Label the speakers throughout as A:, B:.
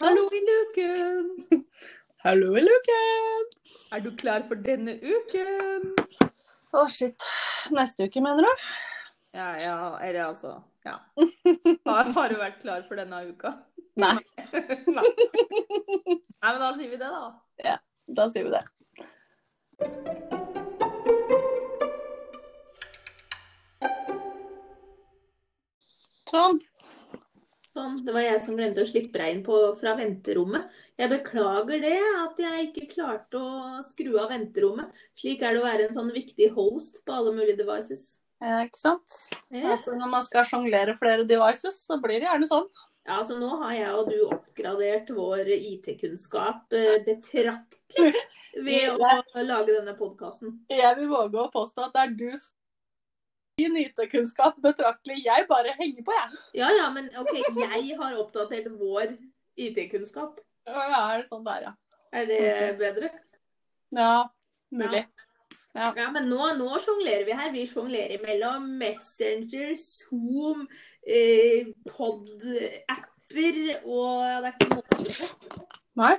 A: Hallo i luken!
B: Hallo i luken!
A: Er du klar for denne uken?
B: Å, shit. Neste uke, mener du?
A: Ja, ja, eller altså Ja. Har, har du vært klar for denne uka?
B: Nei.
A: Nei. Nei, men da sier vi det, da.
B: Da sier vi det. Sånn.
A: Sånn, det var jeg som glemte å slippe deg inn på, fra venterommet. Jeg beklager det, at jeg ikke klarte å skru av venterommet. Slik er det å være en sånn viktig host på alle mulige devices.
B: Ja, ikke sant?
A: Ja,
B: Altså, når man skal sjonglere flere devices, så blir det gjerne sånn.
A: altså nå har jeg og du oppgradert vår IT-kunnskap eh, betraktelig ved å lage denne podkasten.
B: Jeg vil våge å påstå at det er du som gir nytekunnskap betraktelig. Jeg bare henger på, jeg.
A: Ja, ja, men OK, jeg har oppdatert vår IT-kunnskap.
B: Å, Ja, er det sånn der, ja.
A: Er det bedre?
B: Ja, mulig.
A: Ja, men nå, nå sjonglerer vi her. Vi sjonglerer mellom Messenger, Zoom, eh, pod-apper og ja, det er ikke måte på.
B: Nei.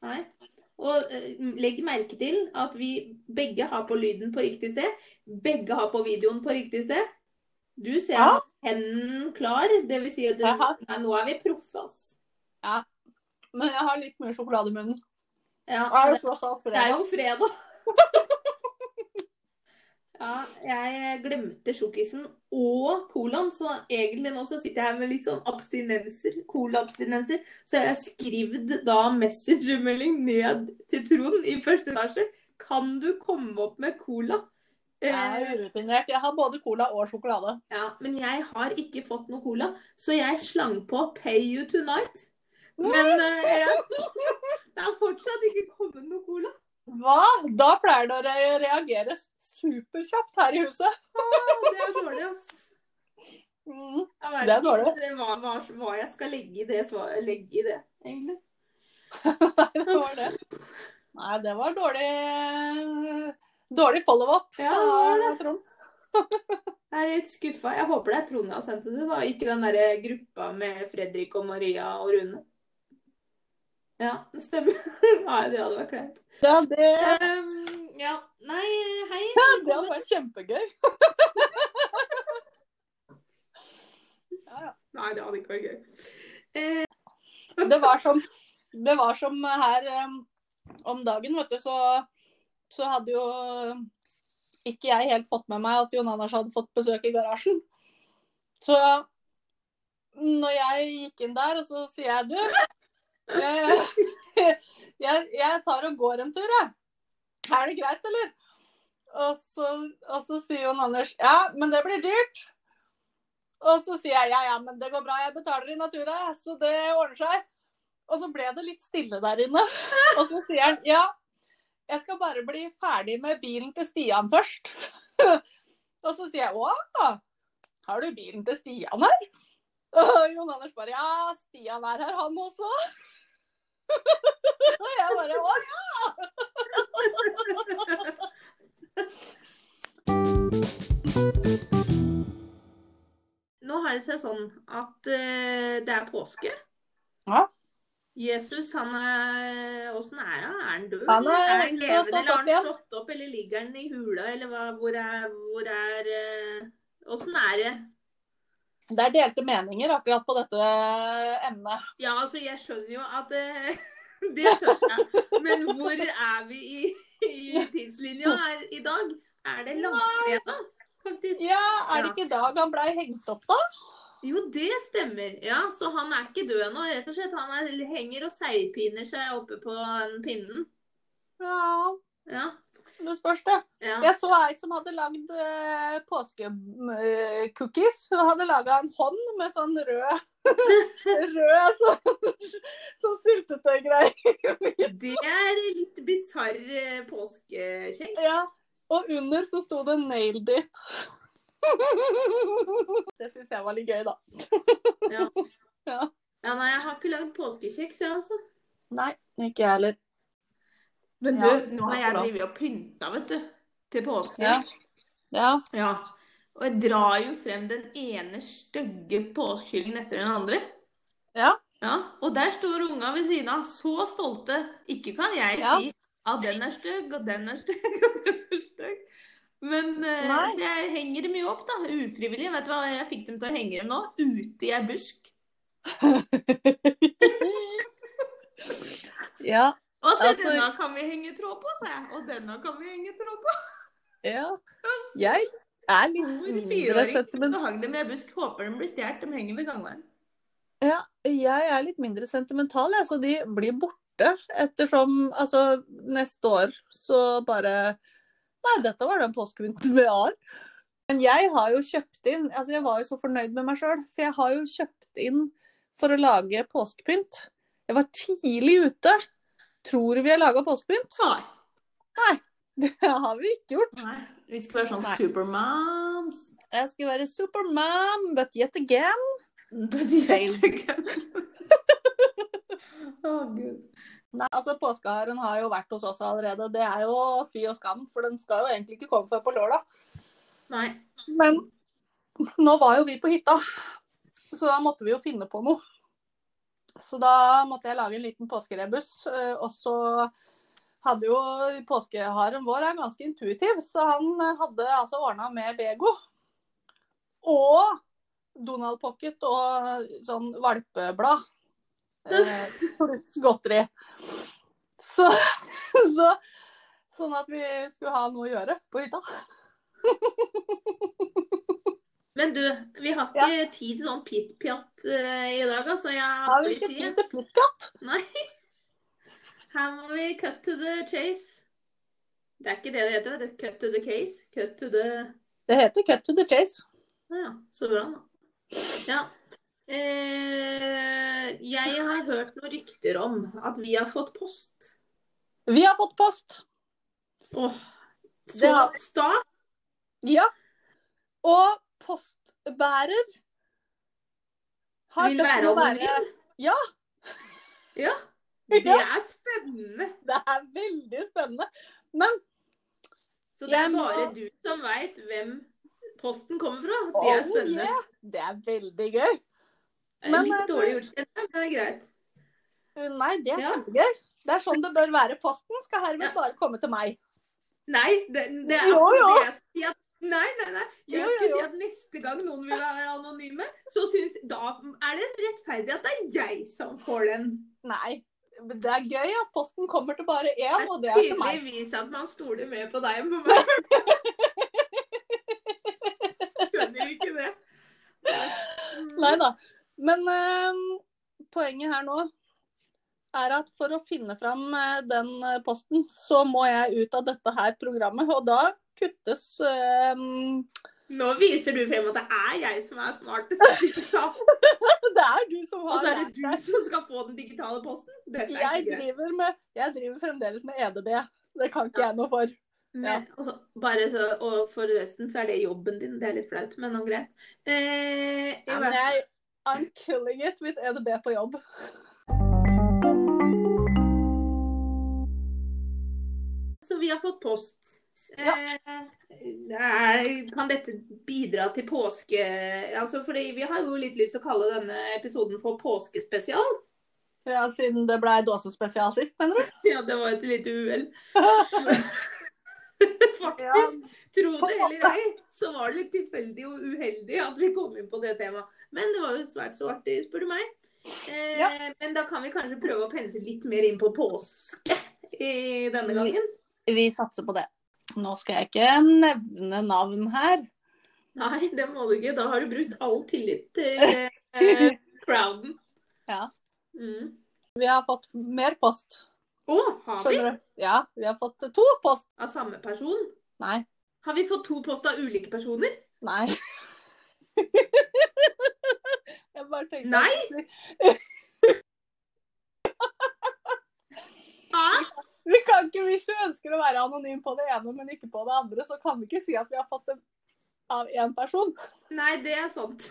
A: Nei. Og eh, legg merke til at vi begge har på lyden på riktig sted. Begge har på videoen på riktig sted. Du ser
B: Ja.
A: hendene klar. Det vil si at det,
B: Jaha.
A: nei, nå er vi proffe, ass.
B: Men jeg har litt mye sjokolade i munnen.
A: Ja,
B: Det er
A: det-
B: jo tross alt
A: Det er
B: fredag.
A: jo fredag. Ja, jeg glemte sjokkisen og colaen, så egentlig nå så sitter jeg her med litt sånn abstinenser, colaabstinenser. Så jeg har skrevet da messengermelding ned til Trond i første etasje. Kan du komme opp med cola?
B: Jeg
A: Eh,
B: er urutinert. Jeg har både cola og sjokolade.
A: ja, men jeg har ikke fått noe cola, så jeg slang på Pay you tonight. Men eh, jeg, det er fortsatt ikke kommet noe cola.
B: Hva? Da pleier det å re- reagere superkjapt her i huset.
A: Å, Det er dårlig, ass.
B: Mm.
A: Jeg vet
B: Det er
A: ikke
B: dårlig.
A: Hva, hva, hva jeg skal legge i det, svar, legge i det egentlig.
B: Det var det. Nei, det var dårlig Dårlig follow-up.
A: Ja, det var det.
B: av Trond.
A: Jeg er litt skuffa. Jeg håper det er Trond jeg har sendt det til, da. Ikke den derre gruppa med Fredrik og Maria og Rune. Ja, det stemmer. Nei, det hadde vært kleint.
B: Ja, det,
A: Ehm, ja. Nei, hei.
B: det hadde vært kjempegøy. Ja, ja.
A: Nei, det hadde ikke vært gøy.
B: Det var som, det var som her eh, om dagen, vet du, så, så hadde jo ikke jeg helt fått med meg at Jon Anders hadde fått besøk i garasjen. Så når jeg gikk inn der, og så sier jeg du, jeg, jeg, jeg tar og går en tur, jeg. Er det greit, eller? Og så, og så sier Jon Anders ja, men det blir dyrt. Og så sier jeg ja, ja, men det går bra, jeg betaler i natura, jeg, så det ordner seg. Og så ble det litt stille der inne. Og så sier han ja, jeg skal bare bli ferdig med bilen til Stian først. Og så sier jeg å, har du bilen til Stian her? Og Jon Anders bare ja, Stian er her han også. Og jeg bare å ja.
A: Nå har det seg sånn at eh, det er påske.
B: Ja.
A: Jesus, han er Åssen er han? Er han død?
B: Han er-
A: eller er han
B: han har
A: levende,
B: stått
A: eller har
B: opp
A: han
B: igjen.
A: stått opp, eller ligger han i hula, eller hva, hvor er Hvor er eh, Åssen er det?
B: Det er delte meninger akkurat på dette emnet.
A: Ja, altså, jeg skjønner jo at eh, Det skjønner jeg. Men hvor er vi i, i tidslinja her i dag? Er det langfredag, faktisk?
B: Ja, er det ikke i dag han blei hengt opp, da?
A: Jo, det stemmer. Ja, Så han er ikke død ennå, rett og slett. Han er, henger og seigpiner seg oppe på den pinnen.
B: Ja,
A: Ja.
B: det spørs det.
A: ja.
B: Jeg så ei som hadde lagd eh, påskecookies. Hun hadde laga en hånd med sånn rød Rød sånn, sånn syltetøygreie.
A: Det er litt bisarr eh, påskekjeks.
B: Ja. Og under så sto det 'nailed it'. Det syns jeg var litt gøy, da.
A: Ja, nei, jeg har ikke lagd påskekjeks, jeg, altså.
B: Nei, ikke jeg heller.
A: Men
B: Ja,
A: du, nå har jeg
B: bra.
A: drevet og pynta, vet du. Til påske.
B: Ja. Ja.
A: Ja. Og jeg drar jo frem den ene stygge påskekyllingen etter den andre.
B: Ja.
A: Ja, Og Og der står unga ved siden av, så stolte. Ikke kan jeg
B: Ja.
A: si at den er stygg, og den er stygg, og den er stygg. Men eh,
B: Nei.
A: så jeg henger dem jo opp, da. Ufrivillig. Vet du hva jeg fikk dem til å henge dem nå? Ute i ei busk.
B: Ja.
A: Og se,
B: Altså-
A: denne kan vi henge tråd på, sa jeg. Og denne kan vi henge tråd på.
B: ja. Jeg er litt
A: Hvor
B: mindre
A: fireåring
B: sentimental.
A: så hang dem i ei busk. Håper de blir stjålet. De henger ved gangveien.
B: Ja, jeg er litt mindre sentimental, jeg, så de blir borte ettersom Altså, neste år så bare Nei, dette var den påskevinteren vi har. Men jeg har jo kjøpt inn Altså, jeg var jo så fornøyd med meg sjøl, for jeg har jo kjøpt inn for å lage påskepynt. Jeg var tidlig ute. Tror du vi har laga påskepynt?
A: Nei.
B: Det har vi ikke gjort.
A: Nei. Vi skal være sånn
B: Nei.
A: supermoms.
B: Jeg skulle være supermom, but yet again.
A: But yet again. Å, gud.
B: Nei, altså Påskeharen har jo vært hos oss allerede. Det er jo fy og skam, for den skal jo egentlig ikke komme før på lørdag.
A: Nei.
B: Men nå var jo vi på hytta, så da måtte vi jo finne på noe. Så da måtte jeg lage en liten påskerebus. eh, Og så hadde jo påskeharen vår er ganske intuitiv, så han eh, hadde altså ordna med Bego. Og Donald Pocket og sånn valpeblad. eh, Pluss godteri. Så, så Sånn at vi skulle ha noe å gjøre på hytta.
A: Men du, vi har ikke tid til sånn pitt-pjatt eh, i dag, altså. Jeg
B: Har
A: har
B: vi
A: fri
B: ikke
A: fri.
B: tid til plukkjatt?
A: Her må vi cut to the chase. Det er ikke det det heter, vet du. Cut to the case. Cut to the
B: Det heter Cut to the Chase.
A: Ja, så bra, da. Ja. Eh, jeg har hørt noen rykter om at vi har fått post.
B: Vi har fått post.
A: Åh,
B: Det
A: så
B: har-
A: stas!
B: Ja. Og postbærer har
A: Vil
B: bedt
A: være
B: om å
A: anonym?
B: Ja.
A: Ja.
B: Ja.
A: Det er spennende.
B: Det er veldig spennende. Men
A: Så det
B: Jeg
A: er
B: må-
A: bare du som veit hvem posten kommer fra. Det er
B: Oh,
A: spennende.
B: yeah. det er veldig gøy.
A: Det er
B: Men,
A: Litt
B: eh,
A: dårlig gjort, kjenner jeg, men det er greit. Eh,
B: Nei, det er
A: Ja.
B: kjempegøy. Det er sånn det bør være. Posten skal herved
A: Ja.
B: bare komme til meg.
A: Nei, det, det er
B: Jo,
A: akkurat
B: jo.
A: det jeg skulle si at Nei, nei, nei. Jeg
B: Jo, jo,
A: skulle
B: jo.
A: si at neste gang noen vil være anonyme, så syns Da er det rettferdig at det er jeg som får den.
B: Nei. men Det er gøy at posten kommer til bare én, og det er til meg.
A: Tydeligvis at man stoler mer på deg enn på meg. Skjønner ikke det.
B: Nei da. Men eh, poenget her nå er at for å finne fram eh, den eh, posten, så må jeg ut av dette her programmet. Og da kuttes eh,
A: Nå viser du frem at det er jeg som er smartest. digitalt.
B: Det er du som
A: Og
B: har
A: så er det
B: lært
A: du
B: deg.
A: som skal få den digitale posten. Dette er
B: Jeg
A: ikke greit.
B: driver, med, jeg driver fremdeles med EDB. Det kan ikke
A: Ja.
B: jeg noe for.
A: Men, altså, bare så, og forresten så er det jobben din. Det er litt flaut, men nå greit. Eh, i
B: Ja,
A: hvert
B: men
A: fall-
B: jeg, I'm killing it with EDB på jobb.
A: Så vi har fått post.
B: Ja.
A: Eh, er- kan dette bidra til påske... Altså, fordi vi har jo litt lyst til å kalle denne episoden for påskespesial.
B: Ja, siden det blei dåsespesial sist, mener du?
A: Ja, det var et lite uhell. Faktisk. Tro det eller ei, så var det litt tilfeldig og uheldig at vi kom inn på det temaet. Men det var jo svært så artig, spør du meg. Eh, Men da kan vi kanskje prøve å pense litt mer inn på påske i denne gangen.
B: Vi satser på det. Nå skal jeg ikke nevne navn her.
A: Nei, det må du ikke. Da har du brukt all tillit til eh, crowden.
B: Ja.
A: Mm.
B: Vi har fått mer post.
A: Å, har vi?
B: Skjønner du? Ja, vi har fått to post.
A: Av samme person?
B: Nei.
A: Har vi fått to post av ulike personer?
B: Nei. Jeg bare tenkte
A: Nei? Hæ?
B: Vi kan ikke, Hvis du ønsker å være anonym på det ene, men ikke på det andre, så kan vi ikke si at vi har fått det av én person.
A: Nei, det er sant.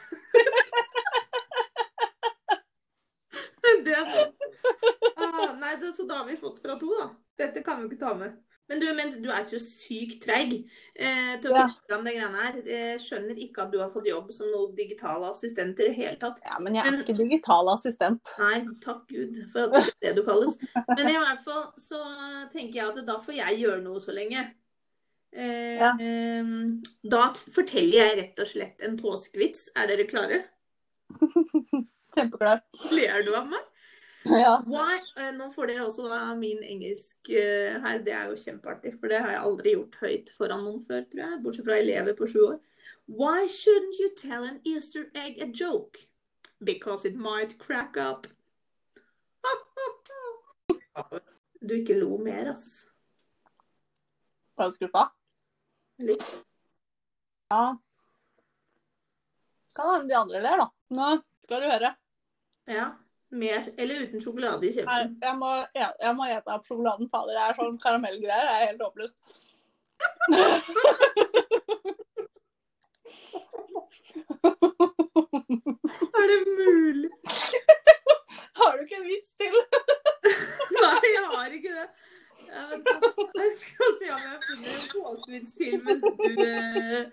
A: det er sant. Ah, nei, det, så da har vi fått fra to, da. Dette kan vi jo ikke ta med. Men du, mens du er så sykt treig eh, til å
B: Ja.
A: finne fram de greiene her. Jeg skjønner ikke at du har fått jobb som noen digitale assistenter i det hele tatt.
B: Ja, men jeg er
A: Men-
B: ikke digital assistent.
A: Nei, takk Gud for at det ikke er det du kalles. Men i hvert fall så tenker jeg at da får jeg gjøre noe så lenge. Eh,
B: Ja.
A: ehm, da t- forteller jeg rett og slett en påskevits. Er dere klare?
B: Kjempeklar.
A: Ler du av meg?
B: Ja.
A: Why, eh, nå får dere også da min engelsk eh, her. Det er jo kjempeartig, for det har jeg aldri gjort høyt foran noen før, tror jeg. Bortsett fra elever på sju år. Why shouldn't you tell an easter egg a joke? Because it might crack up. du ikke lo mer, ass.
B: Var du skuffa?
A: Litt.
B: Ja. Kan hende de andre ler, da. Nå skal du høre.
A: Ja. Mer eller uten sjokolade i
B: Nei,
A: kjeften.
B: jeg må, ja, jeg må gjete opp sjokoladen. Fader, det er sånn karamellgreier. Det er helt håpløst.
A: Er det mulig?
B: Har du ikke en vits til?
A: Nei, jeg har ikke det. Ja, men da- Jeg skal se om jeg har funnet en påskevits til mens du eh,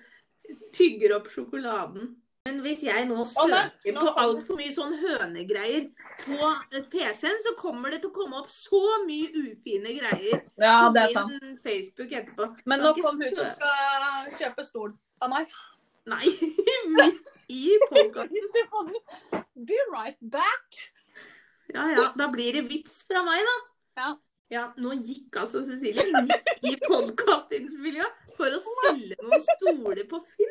A: tygger opp sjokoladen. Men hvis jeg nå
B: Å, nei,
A: søker
B: nå
A: på
B: kommer-
A: altfor mye sånn hønegreier på eh, PC-en, så kommer det til å komme opp så mye ufine greier
B: Ja,
A: på min Facebook etterpå.
B: Men nå
A: Kan ikke
B: kom hun som
A: stø-
B: skal kjøpe stol av meg.
A: Nei, midt i podkasten.
B: Be right back.
A: Ja ja, da blir det vits fra meg, da.
B: Ja.
A: Ja, nå gikk altså Cecilie midt i podkastinnspillinga for å selge noen stoler på Finn.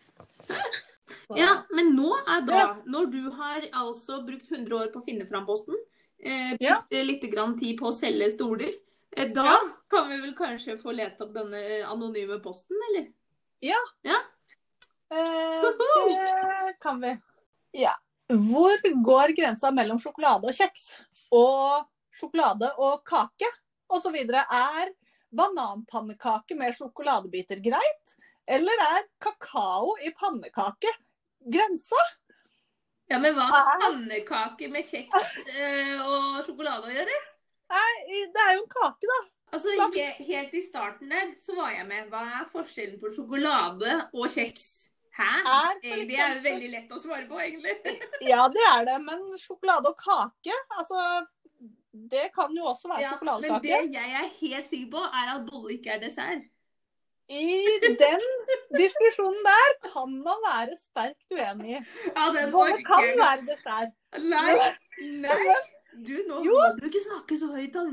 B: Så-
A: Ja, men nå er da,
B: Ja.
A: når du har altså brukt 100 år på å finne fram posten, eh, brukt
B: Ja.
A: eh, litt grann tid på å selge stoler, eh, da kan vi vel kanskje få lest opp denne eh, anonyme posten, eller?
B: Eh, det kan vi. Ja. Hvor går grensa mellom sjokolade og kjeks? Og sjokolade og kake? Og så videre. Er bananpannekake med sjokoladebiter greit? Eller er kakao i pannekake grensa?
A: Ja, men hva
B: har
A: pannekake med kjeks eh, og sjokolade å gjøre?
B: Nei, det er jo en kake, da.
A: Altså, helt i starten der, så var jeg med. Hva er forskjellen på sjokolade og kjeks? Hæ?
B: Er for Eh, det er jo eksempel-
A: veldig lett å svare på, egentlig.
B: Ja, det er det. Men sjokolade og kake, altså Det kan jo også være
A: Ja, men
B: sjokoladekake.
A: det jeg er helt sikker på, er at bolle ikke er dessert.
B: I den diskusjonen der kan man være sterkt uenig i.
A: Ja, den
B: Bolle
A: orker
B: kan
A: jeg
B: være dessert.
A: Nei, nei. Du, nå
B: Jo.
A: må du ikke snakke så høyt, da.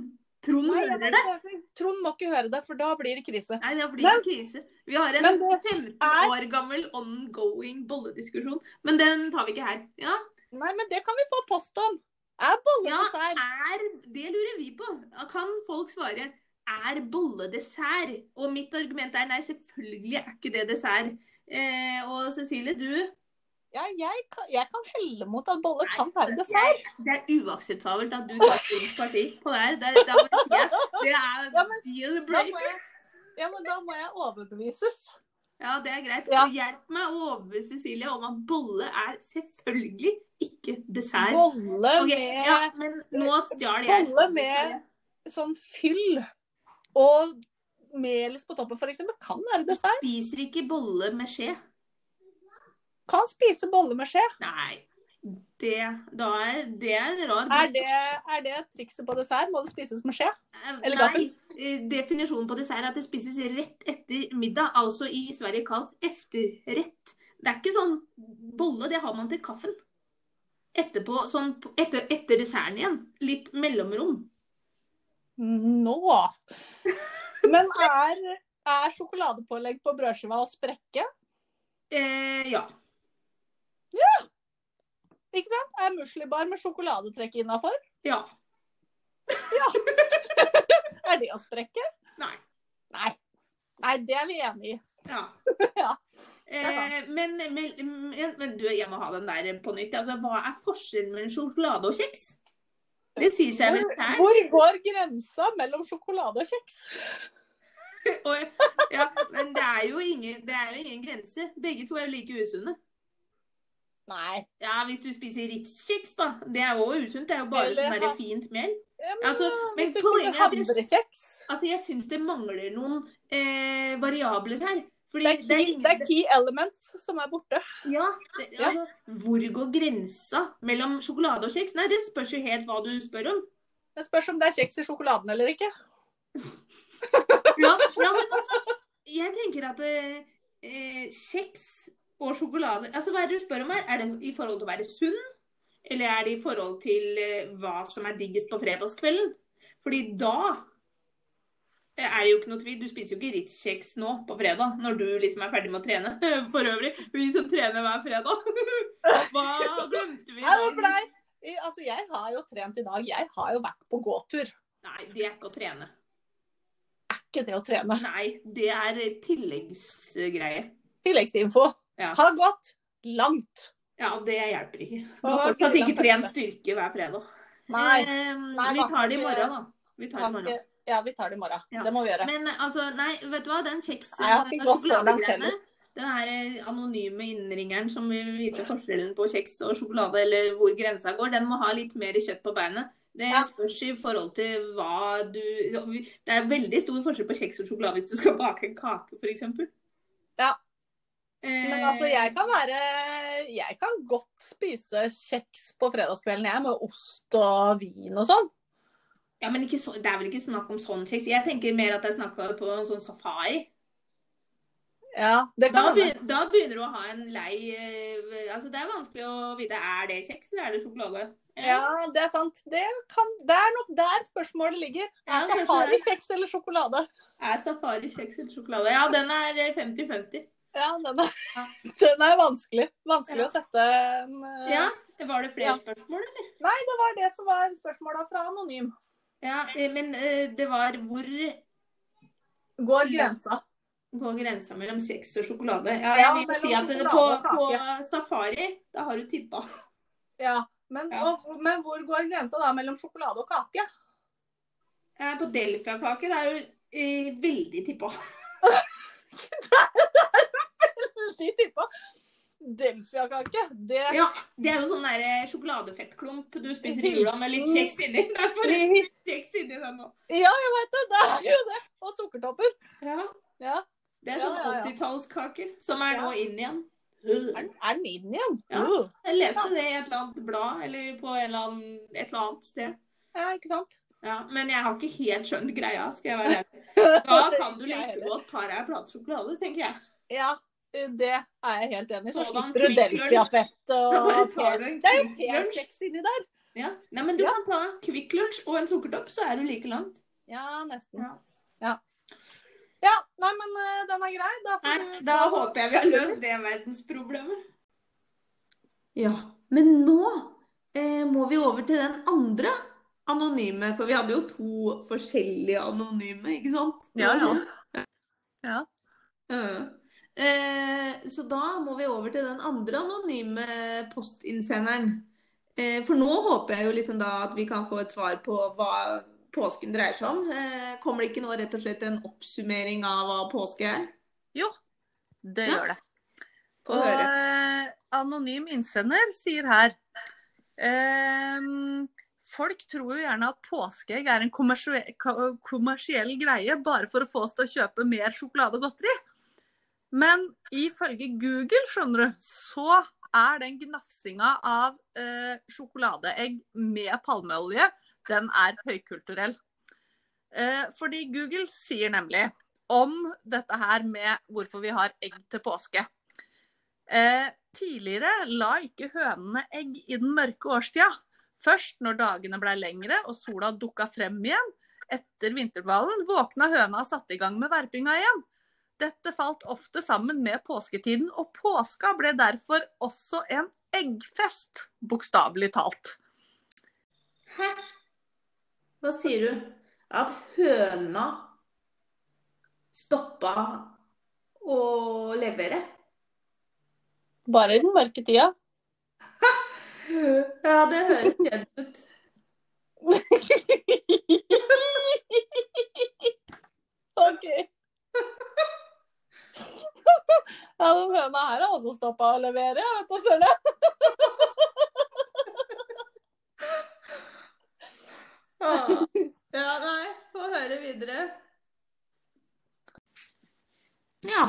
A: Trond
B: Nei,
A: hører
B: jeg-
A: det.
B: Trond må ikke høre det, for da blir det krise.
A: Nei, det blir
B: Men-
A: en krise. Vi har en
B: Men det
A: 15 år gammel ongoing bollediskusjon, men den tar vi ikke her. Ja,
B: Nei, men det kan vi få post om. Er bolle
A: ja
B: dessert?
A: er Det lurer vi på. Kan folk svare? Er bolle dessert? Og mitt argument er nei, selvfølgelig er ikke det dessert. Eh, og Cecilie, du
B: Ja, jeg kan, jeg kan helle mot at bolle
A: Nei,
B: kan være dessert.
A: jeg, Det er uakseptabelt at du tar Trons parti på det her. Det, det, det, det, det er
B: Ja, men-
A: deal
B: Da
A: breaker.
B: må jeg, ja, men da må jeg overbevises.
A: Ja, det er greit.
B: Ja.
A: Hjelp meg å overbevise Cecilie om at bolle er selvfølgelig ikke dessert.
B: Bolle
A: Ok,
B: med
A: ja, men nå stjal jeg.
B: Bolle med- sånn fyll og melis på toppen, f.eks., kan være dessert.
A: Spiser ikke bolle med skje.
B: Kan spise bolle med skje.
A: Nei, det, da er, det er en rar
B: Er det, er det trikset på dessert? Må det spises med skje? eller
A: Nei,
B: gaffel?
A: eh, definisjonen på dessert er at det spises rett etter middag. Altså i Sverige kalt efterrett. Det er ikke sånn bolle, det har man til kaffen. Etterpå, sånn etter, etter desserten igjen. Litt mellomrom.
B: Nå! Men er, er sjokoladepålegg på brødskiva å sprekke?
A: Eh, ja.
B: Ikke sant? Er muslibar med sjokoladetrekk innafor?
A: Ja.
B: Er det å sprekke?
A: Nei.
B: Nei. Nei, det er vi enig i.
A: Ja.
B: Ja.
A: Eh, men, men, men, men du, jeg må ha den der på nytt. Altså, hva er forskjellen mellom sjokolade og kjeks? Det sier seg vel selv.
B: Hvor går grensa mellom sjokolade og kjeks?
A: Og, ja, men det er, jo ingen, det er jo ingen grense. Begge to er jo like usunne.
B: Nei.
A: Ja, hvis du spiser Ritz-kjeks, da. Det er jo usunt. Det er jo bare
B: Eller
A: sånn der
B: ha-
A: fint mel.
B: Ja, men,
A: Altså, men
B: hvis
A: poenget
B: du spiser
A: er at jeg-
B: havrekjeks
A: Altså, jeg syns det mangler noen eh, variabler her. Fordi
B: det er, key,
A: ingen-
B: det er key elements som er borte.
A: Ja, det,
B: Ja.
A: altså, hvor går grensa mellom sjokolade og kjeks? Nei, det spørs jo helt hva du spør om.
B: Det spørs om det er kjeks i sjokoladen eller ikke.
A: Ja, ja men altså, jeg tenker at eh, eh, kjeks og sjokolade Altså, hva er det du spør om her? Er det i forhold til å være sunn? Eller er det i forhold til eh, hva som er diggest på fredagskvelden? Fordi da eh, er det jo ikke noe tvil. Du spiser jo ikke Ritz-kjeks nå på fredag, når du liksom er ferdig med å trene. For øvrig, vi som trener hver fredag. Hva glemte vi?
B: Nei, det blei. I- Altså, jeg har jo trent i dag. Jeg har jo vært på gåtur.
A: Nei, det er ikke å trene.
B: Er ikke det å trene?
A: Nei, det er tilleggsgreie.
B: Tilleggsinfo.
A: Ja.
B: Har gått langt.
A: Ja, det hjelper ikke. Du
B: Å,
A: har fortsatt
B: ok, da
A: ikke
B: tar vi
A: trent
B: det.
A: styrke hver fredag.
B: Nei.
A: Eh,
B: Nei,
A: vi
B: da kan
A: tar det i
B: vi-
A: morgen, da. Vi tar det i
B: Kan
A: morgen.
B: ikke- Ja, vi tar det i morgen.
A: Ja.
B: Det må vi gjøre.
A: Men eh, altså, nei, vet du hva? Den kjeks...
B: Nei, jeg har ikke
A: eh,
B: gått så langt
A: sjokoladegreiene,
B: heller.
A: Den her eh, anonyme innringeren som vil vite forskjellen på kjeks og sjokolade, eller hvor grensa går, den må ha litt mer kjøtt på beinet. Det
B: Ja.
A: spørs i forhold til hva du Det er veldig stor forskjell på kjeks og sjokolade hvis du skal bake en kake, Eh, f.eks.
B: Ja. Men altså, jeg kan være Jeg kan godt spise kjeks på fredagskvelden, jeg, med ost og vin og sånn.
A: Ja, men ikke så, Det er vel ikke snakk om sånn kjeks? Jeg tenker mer at det er snakk om på en sånn safari.
B: Ja, det
A: Da
B: kan hende.
A: begynner, da begynner du å ha en lei eh, Altså, det er vanskelig å vite er det kjeks eller er det sjokolade.
B: Ja, det er sant. Det, kan, det er nok der spørsmålet ligger.
A: Ja, kanskje
B: Safari,
A: det
B: kjeks eller sjokolade?
A: Er Er safari kjeks eller sjokolade? Ja, den er eh, 50-50.
B: Ja, den er,
A: Ja.
B: den er vanskelig. Vanskelig
A: Ja.
B: å sette en eh,
A: Ja, var det flere
B: Ja.
A: spørsmål, eller?
B: Nei, det var det som var spørsmåla fra Anonym.
A: Ja, eh, men eh, det var hvor
B: Går grensa?
A: går grensa mellom kjeks og sjokolade? Ja,
B: Ja,
A: jeg vil jo
B: mellom
A: si at det- på,
B: sjokolade og
A: på
B: kake.
A: safari, da har du tippa.
B: Ja. Men,
A: Ja.
B: Og, men hvor går grensa da mellom sjokolade og kake?
A: Eh, På delfiakake, det er jo eh, veldig tippa.
B: De tippa Delfia-kake. Det
A: Ja, det er jo sånn der eh, sjokoladefettklump du spiser i jula med litt kjeks inni. Det er forresten litt kjeks inni den nå.
B: Ja, jeg veit det. Det er jo det. Og sukkertopper.
A: Ja.
B: Ja.
A: Det er
B: Ja,
A: sånn
B: ja, ja.
A: 80-tallskaker som er nå inn igjen.
B: Er den- er den i den igjen?
A: Ja.
B: Uh.
A: Jeg leste det i et eller annet blad eller på en eller annen, et eller annet sted.
B: ja ikke sant?
A: Ja, men jeg har ikke helt skjønt greia, skal jeg være ærlig. Da kan du like så godt ta deg en plate sjokolade, tenker jeg.
B: Ja, det er jeg helt enig i. Så
A: Hold on,
B: slipper
A: Quick
B: du Delfia-fett
A: Da bare
B: og
A: tar du en
B: Det er jo
A: Quick
B: helt
A: Lunch.
B: kjeks inni der.
A: Ja. Nei, men du kan ta Kvikk Lunsj og en sukkertopp, så er du like langt.
B: Ja, nesten.
A: Ja.
B: Ja. Ja, nei, men eh, den er grei. Da
A: Nei,
B: får du-
A: da håper jeg vi har løst det verdensproblemet. Ja, men nå eh, må vi over til den andre anonyme, for vi hadde jo to forskjellige anonyme, ikke sant? Det
B: Ja,
A: var
B: ja.
A: sånn.
B: Ja.
A: Ja. Eh, så da må vi over til den andre anonyme postinnsenderen. Eh, for nå håper jeg jo liksom da at vi kan få et svar på hva påsken dreier seg om. Eh, kommer det ikke nå rett og slett en oppsummering av hva påske er?
B: Det
A: Ja.
B: gjør det.
A: Få
B: og
A: høre.
B: eh, anonym innsender sier her ehm, Folk tror jo gjerne at påskeegg er en kommersie- ko- kommersiell greie bare for å få oss til å kjøpe mer sjokolade og godteri. Men ifølge Google, skjønner du, så er den gnafsinga av eh, sjokoladeegg med palmeolje, den er høykulturell. Eh, fordi Google sier nemlig om dette her med hvorfor vi har egg til påske. Eh, tidligere la ikke hønene egg i den mørke årstida. Først når dagene ble lengre og sola dukka frem igjen etter vinterdvalen, våkna høna og satte i gang med verpinga igjen. Dette falt ofte sammen med påsketiden, og påska ble derfor også en eggfest, bokstavelig talt.
A: Hæ? Hva sier du? at høna stoppa å levere.
B: Bare i den mørke tida.
A: Ja, det høres kjent ut.
B: OK. Ja, den høna her har også stoppa å levere, jeg vet da søren.
A: Ah. Ja, nei, få høre videre. Ja.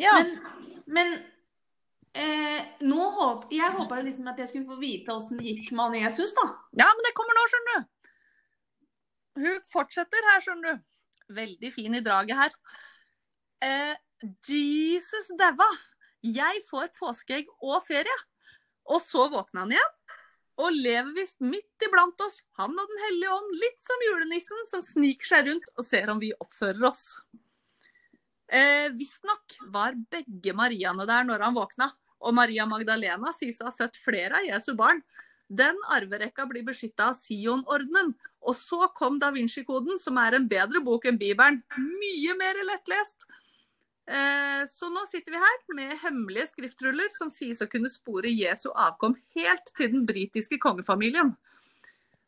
B: Ja.
A: Men, men eh, nå håp, jeg håpa jo liksom at jeg skulle få vite åssen det gikk med Anne Jesus, da.
B: Ja, men det kommer nå, skjønner du. Hun fortsetter her, skjønner du. Veldig fin i draget her. Eh, Jesus daua. Jeg får påskeegg og ferie. Og så våkna han igjen. Og lever visst midt iblant oss, han og Den hellige ånd, litt som julenissen som sniker seg rundt og ser om vi oppfører oss. Eh, Visstnok var begge Mariaene der når han våkna, og Maria Magdalena sies å ha født flere av Jesu barn. Den arverekka blir beskytta av Sion-ordenen. Og så kom da Vinci-koden, som er en bedre bok enn Bibelen. Mye mer lettlest. Eh, Så nå sitter vi her med hemmelige skriftruller som sies å kunne spore Jesu avkom helt til den britiske kongefamilien.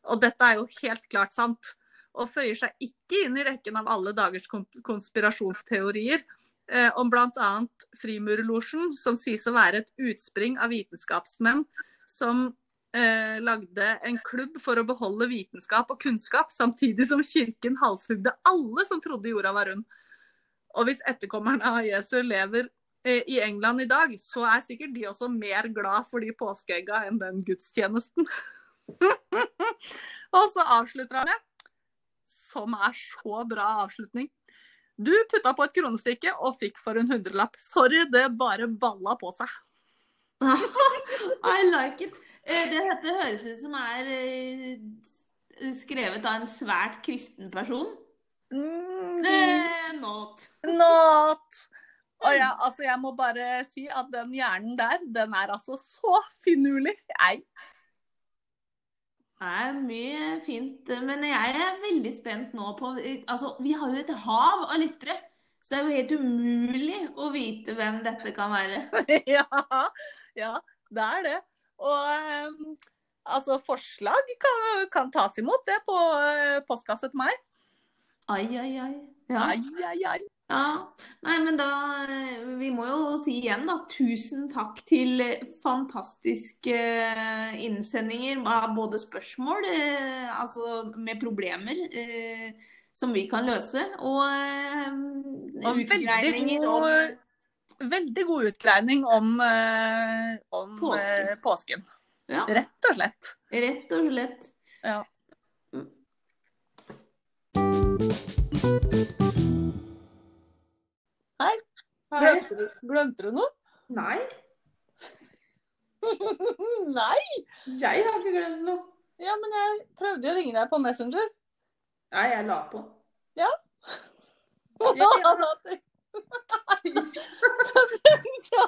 B: Og dette er jo helt klart sant, og føyer seg ikke inn i rekken av alle dagers kon- konspirasjonsteorier eh, om bl.a. Frimurlosjen, som sies å være et utspring av vitenskapsmenn som eh, lagde en klubb for å beholde vitenskap og kunnskap, samtidig som kirken halshugde alle som trodde jorda var rund. Og hvis etterkommerne av Jesu lever eh, i England i dag, så er sikkert de også mer glad for de påskeegga enn den gudstjenesten. og så avslutter han med, som er så bra avslutning. Du putta på et kronestykke og fikk for en hundrelapp. Sorry, det bare balla på seg.
A: I like it. Eh, det dette høres ut som er eh, skrevet av en svært kristen person.
B: Mhm.
A: Eh, not.
B: Not. Og jeg, altså, jeg må bare si at den hjernen der, den er altså så finurlig. Nei.
A: Det er mye fint, eh, men jeg er veldig spent nå på Altså, vi har jo et hav av lyttere, så det er jo helt umulig å vite hvem dette kan være.
B: ja, ja, det er det. Og em, altså, forslag kan, kan tas imot, det, på eh, postkasse til meg.
A: Ai, ai, ai. Ja.
B: Ai, ai, ai.
A: ja. Nei, men da eh, Vi må jo si igjen, da, tusen takk til eh, fantastiske eh, innsendinger av både spørsmål, eh, altså med problemer, eh, som vi kan løse, og eh,
B: Og veldig
A: utgreininger om
B: god, veldig god utgreining om, eh, om
A: Påsken.
B: eh, påsken.
A: Ja.
B: Rett og slett.
A: Rett og slett.
B: Ja.
A: Mm.
B: Hei.
A: Hei.
B: Glemte du, glemte du noe?
A: Nei,
B: Nei.
A: jeg har ikke glemt noe.
B: Ja, men jeg prøvde jo å ringe deg på Messenger.
A: Nei, jeg la på.
B: Ja.
A: Ja, ja.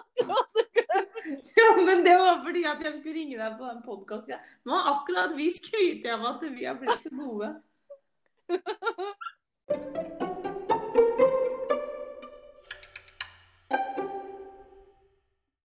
A: Ja, men det var fordi at jeg skulle ringe deg på den podkasten. Nå har akkurat vi skryter av at vi har blitt så gode.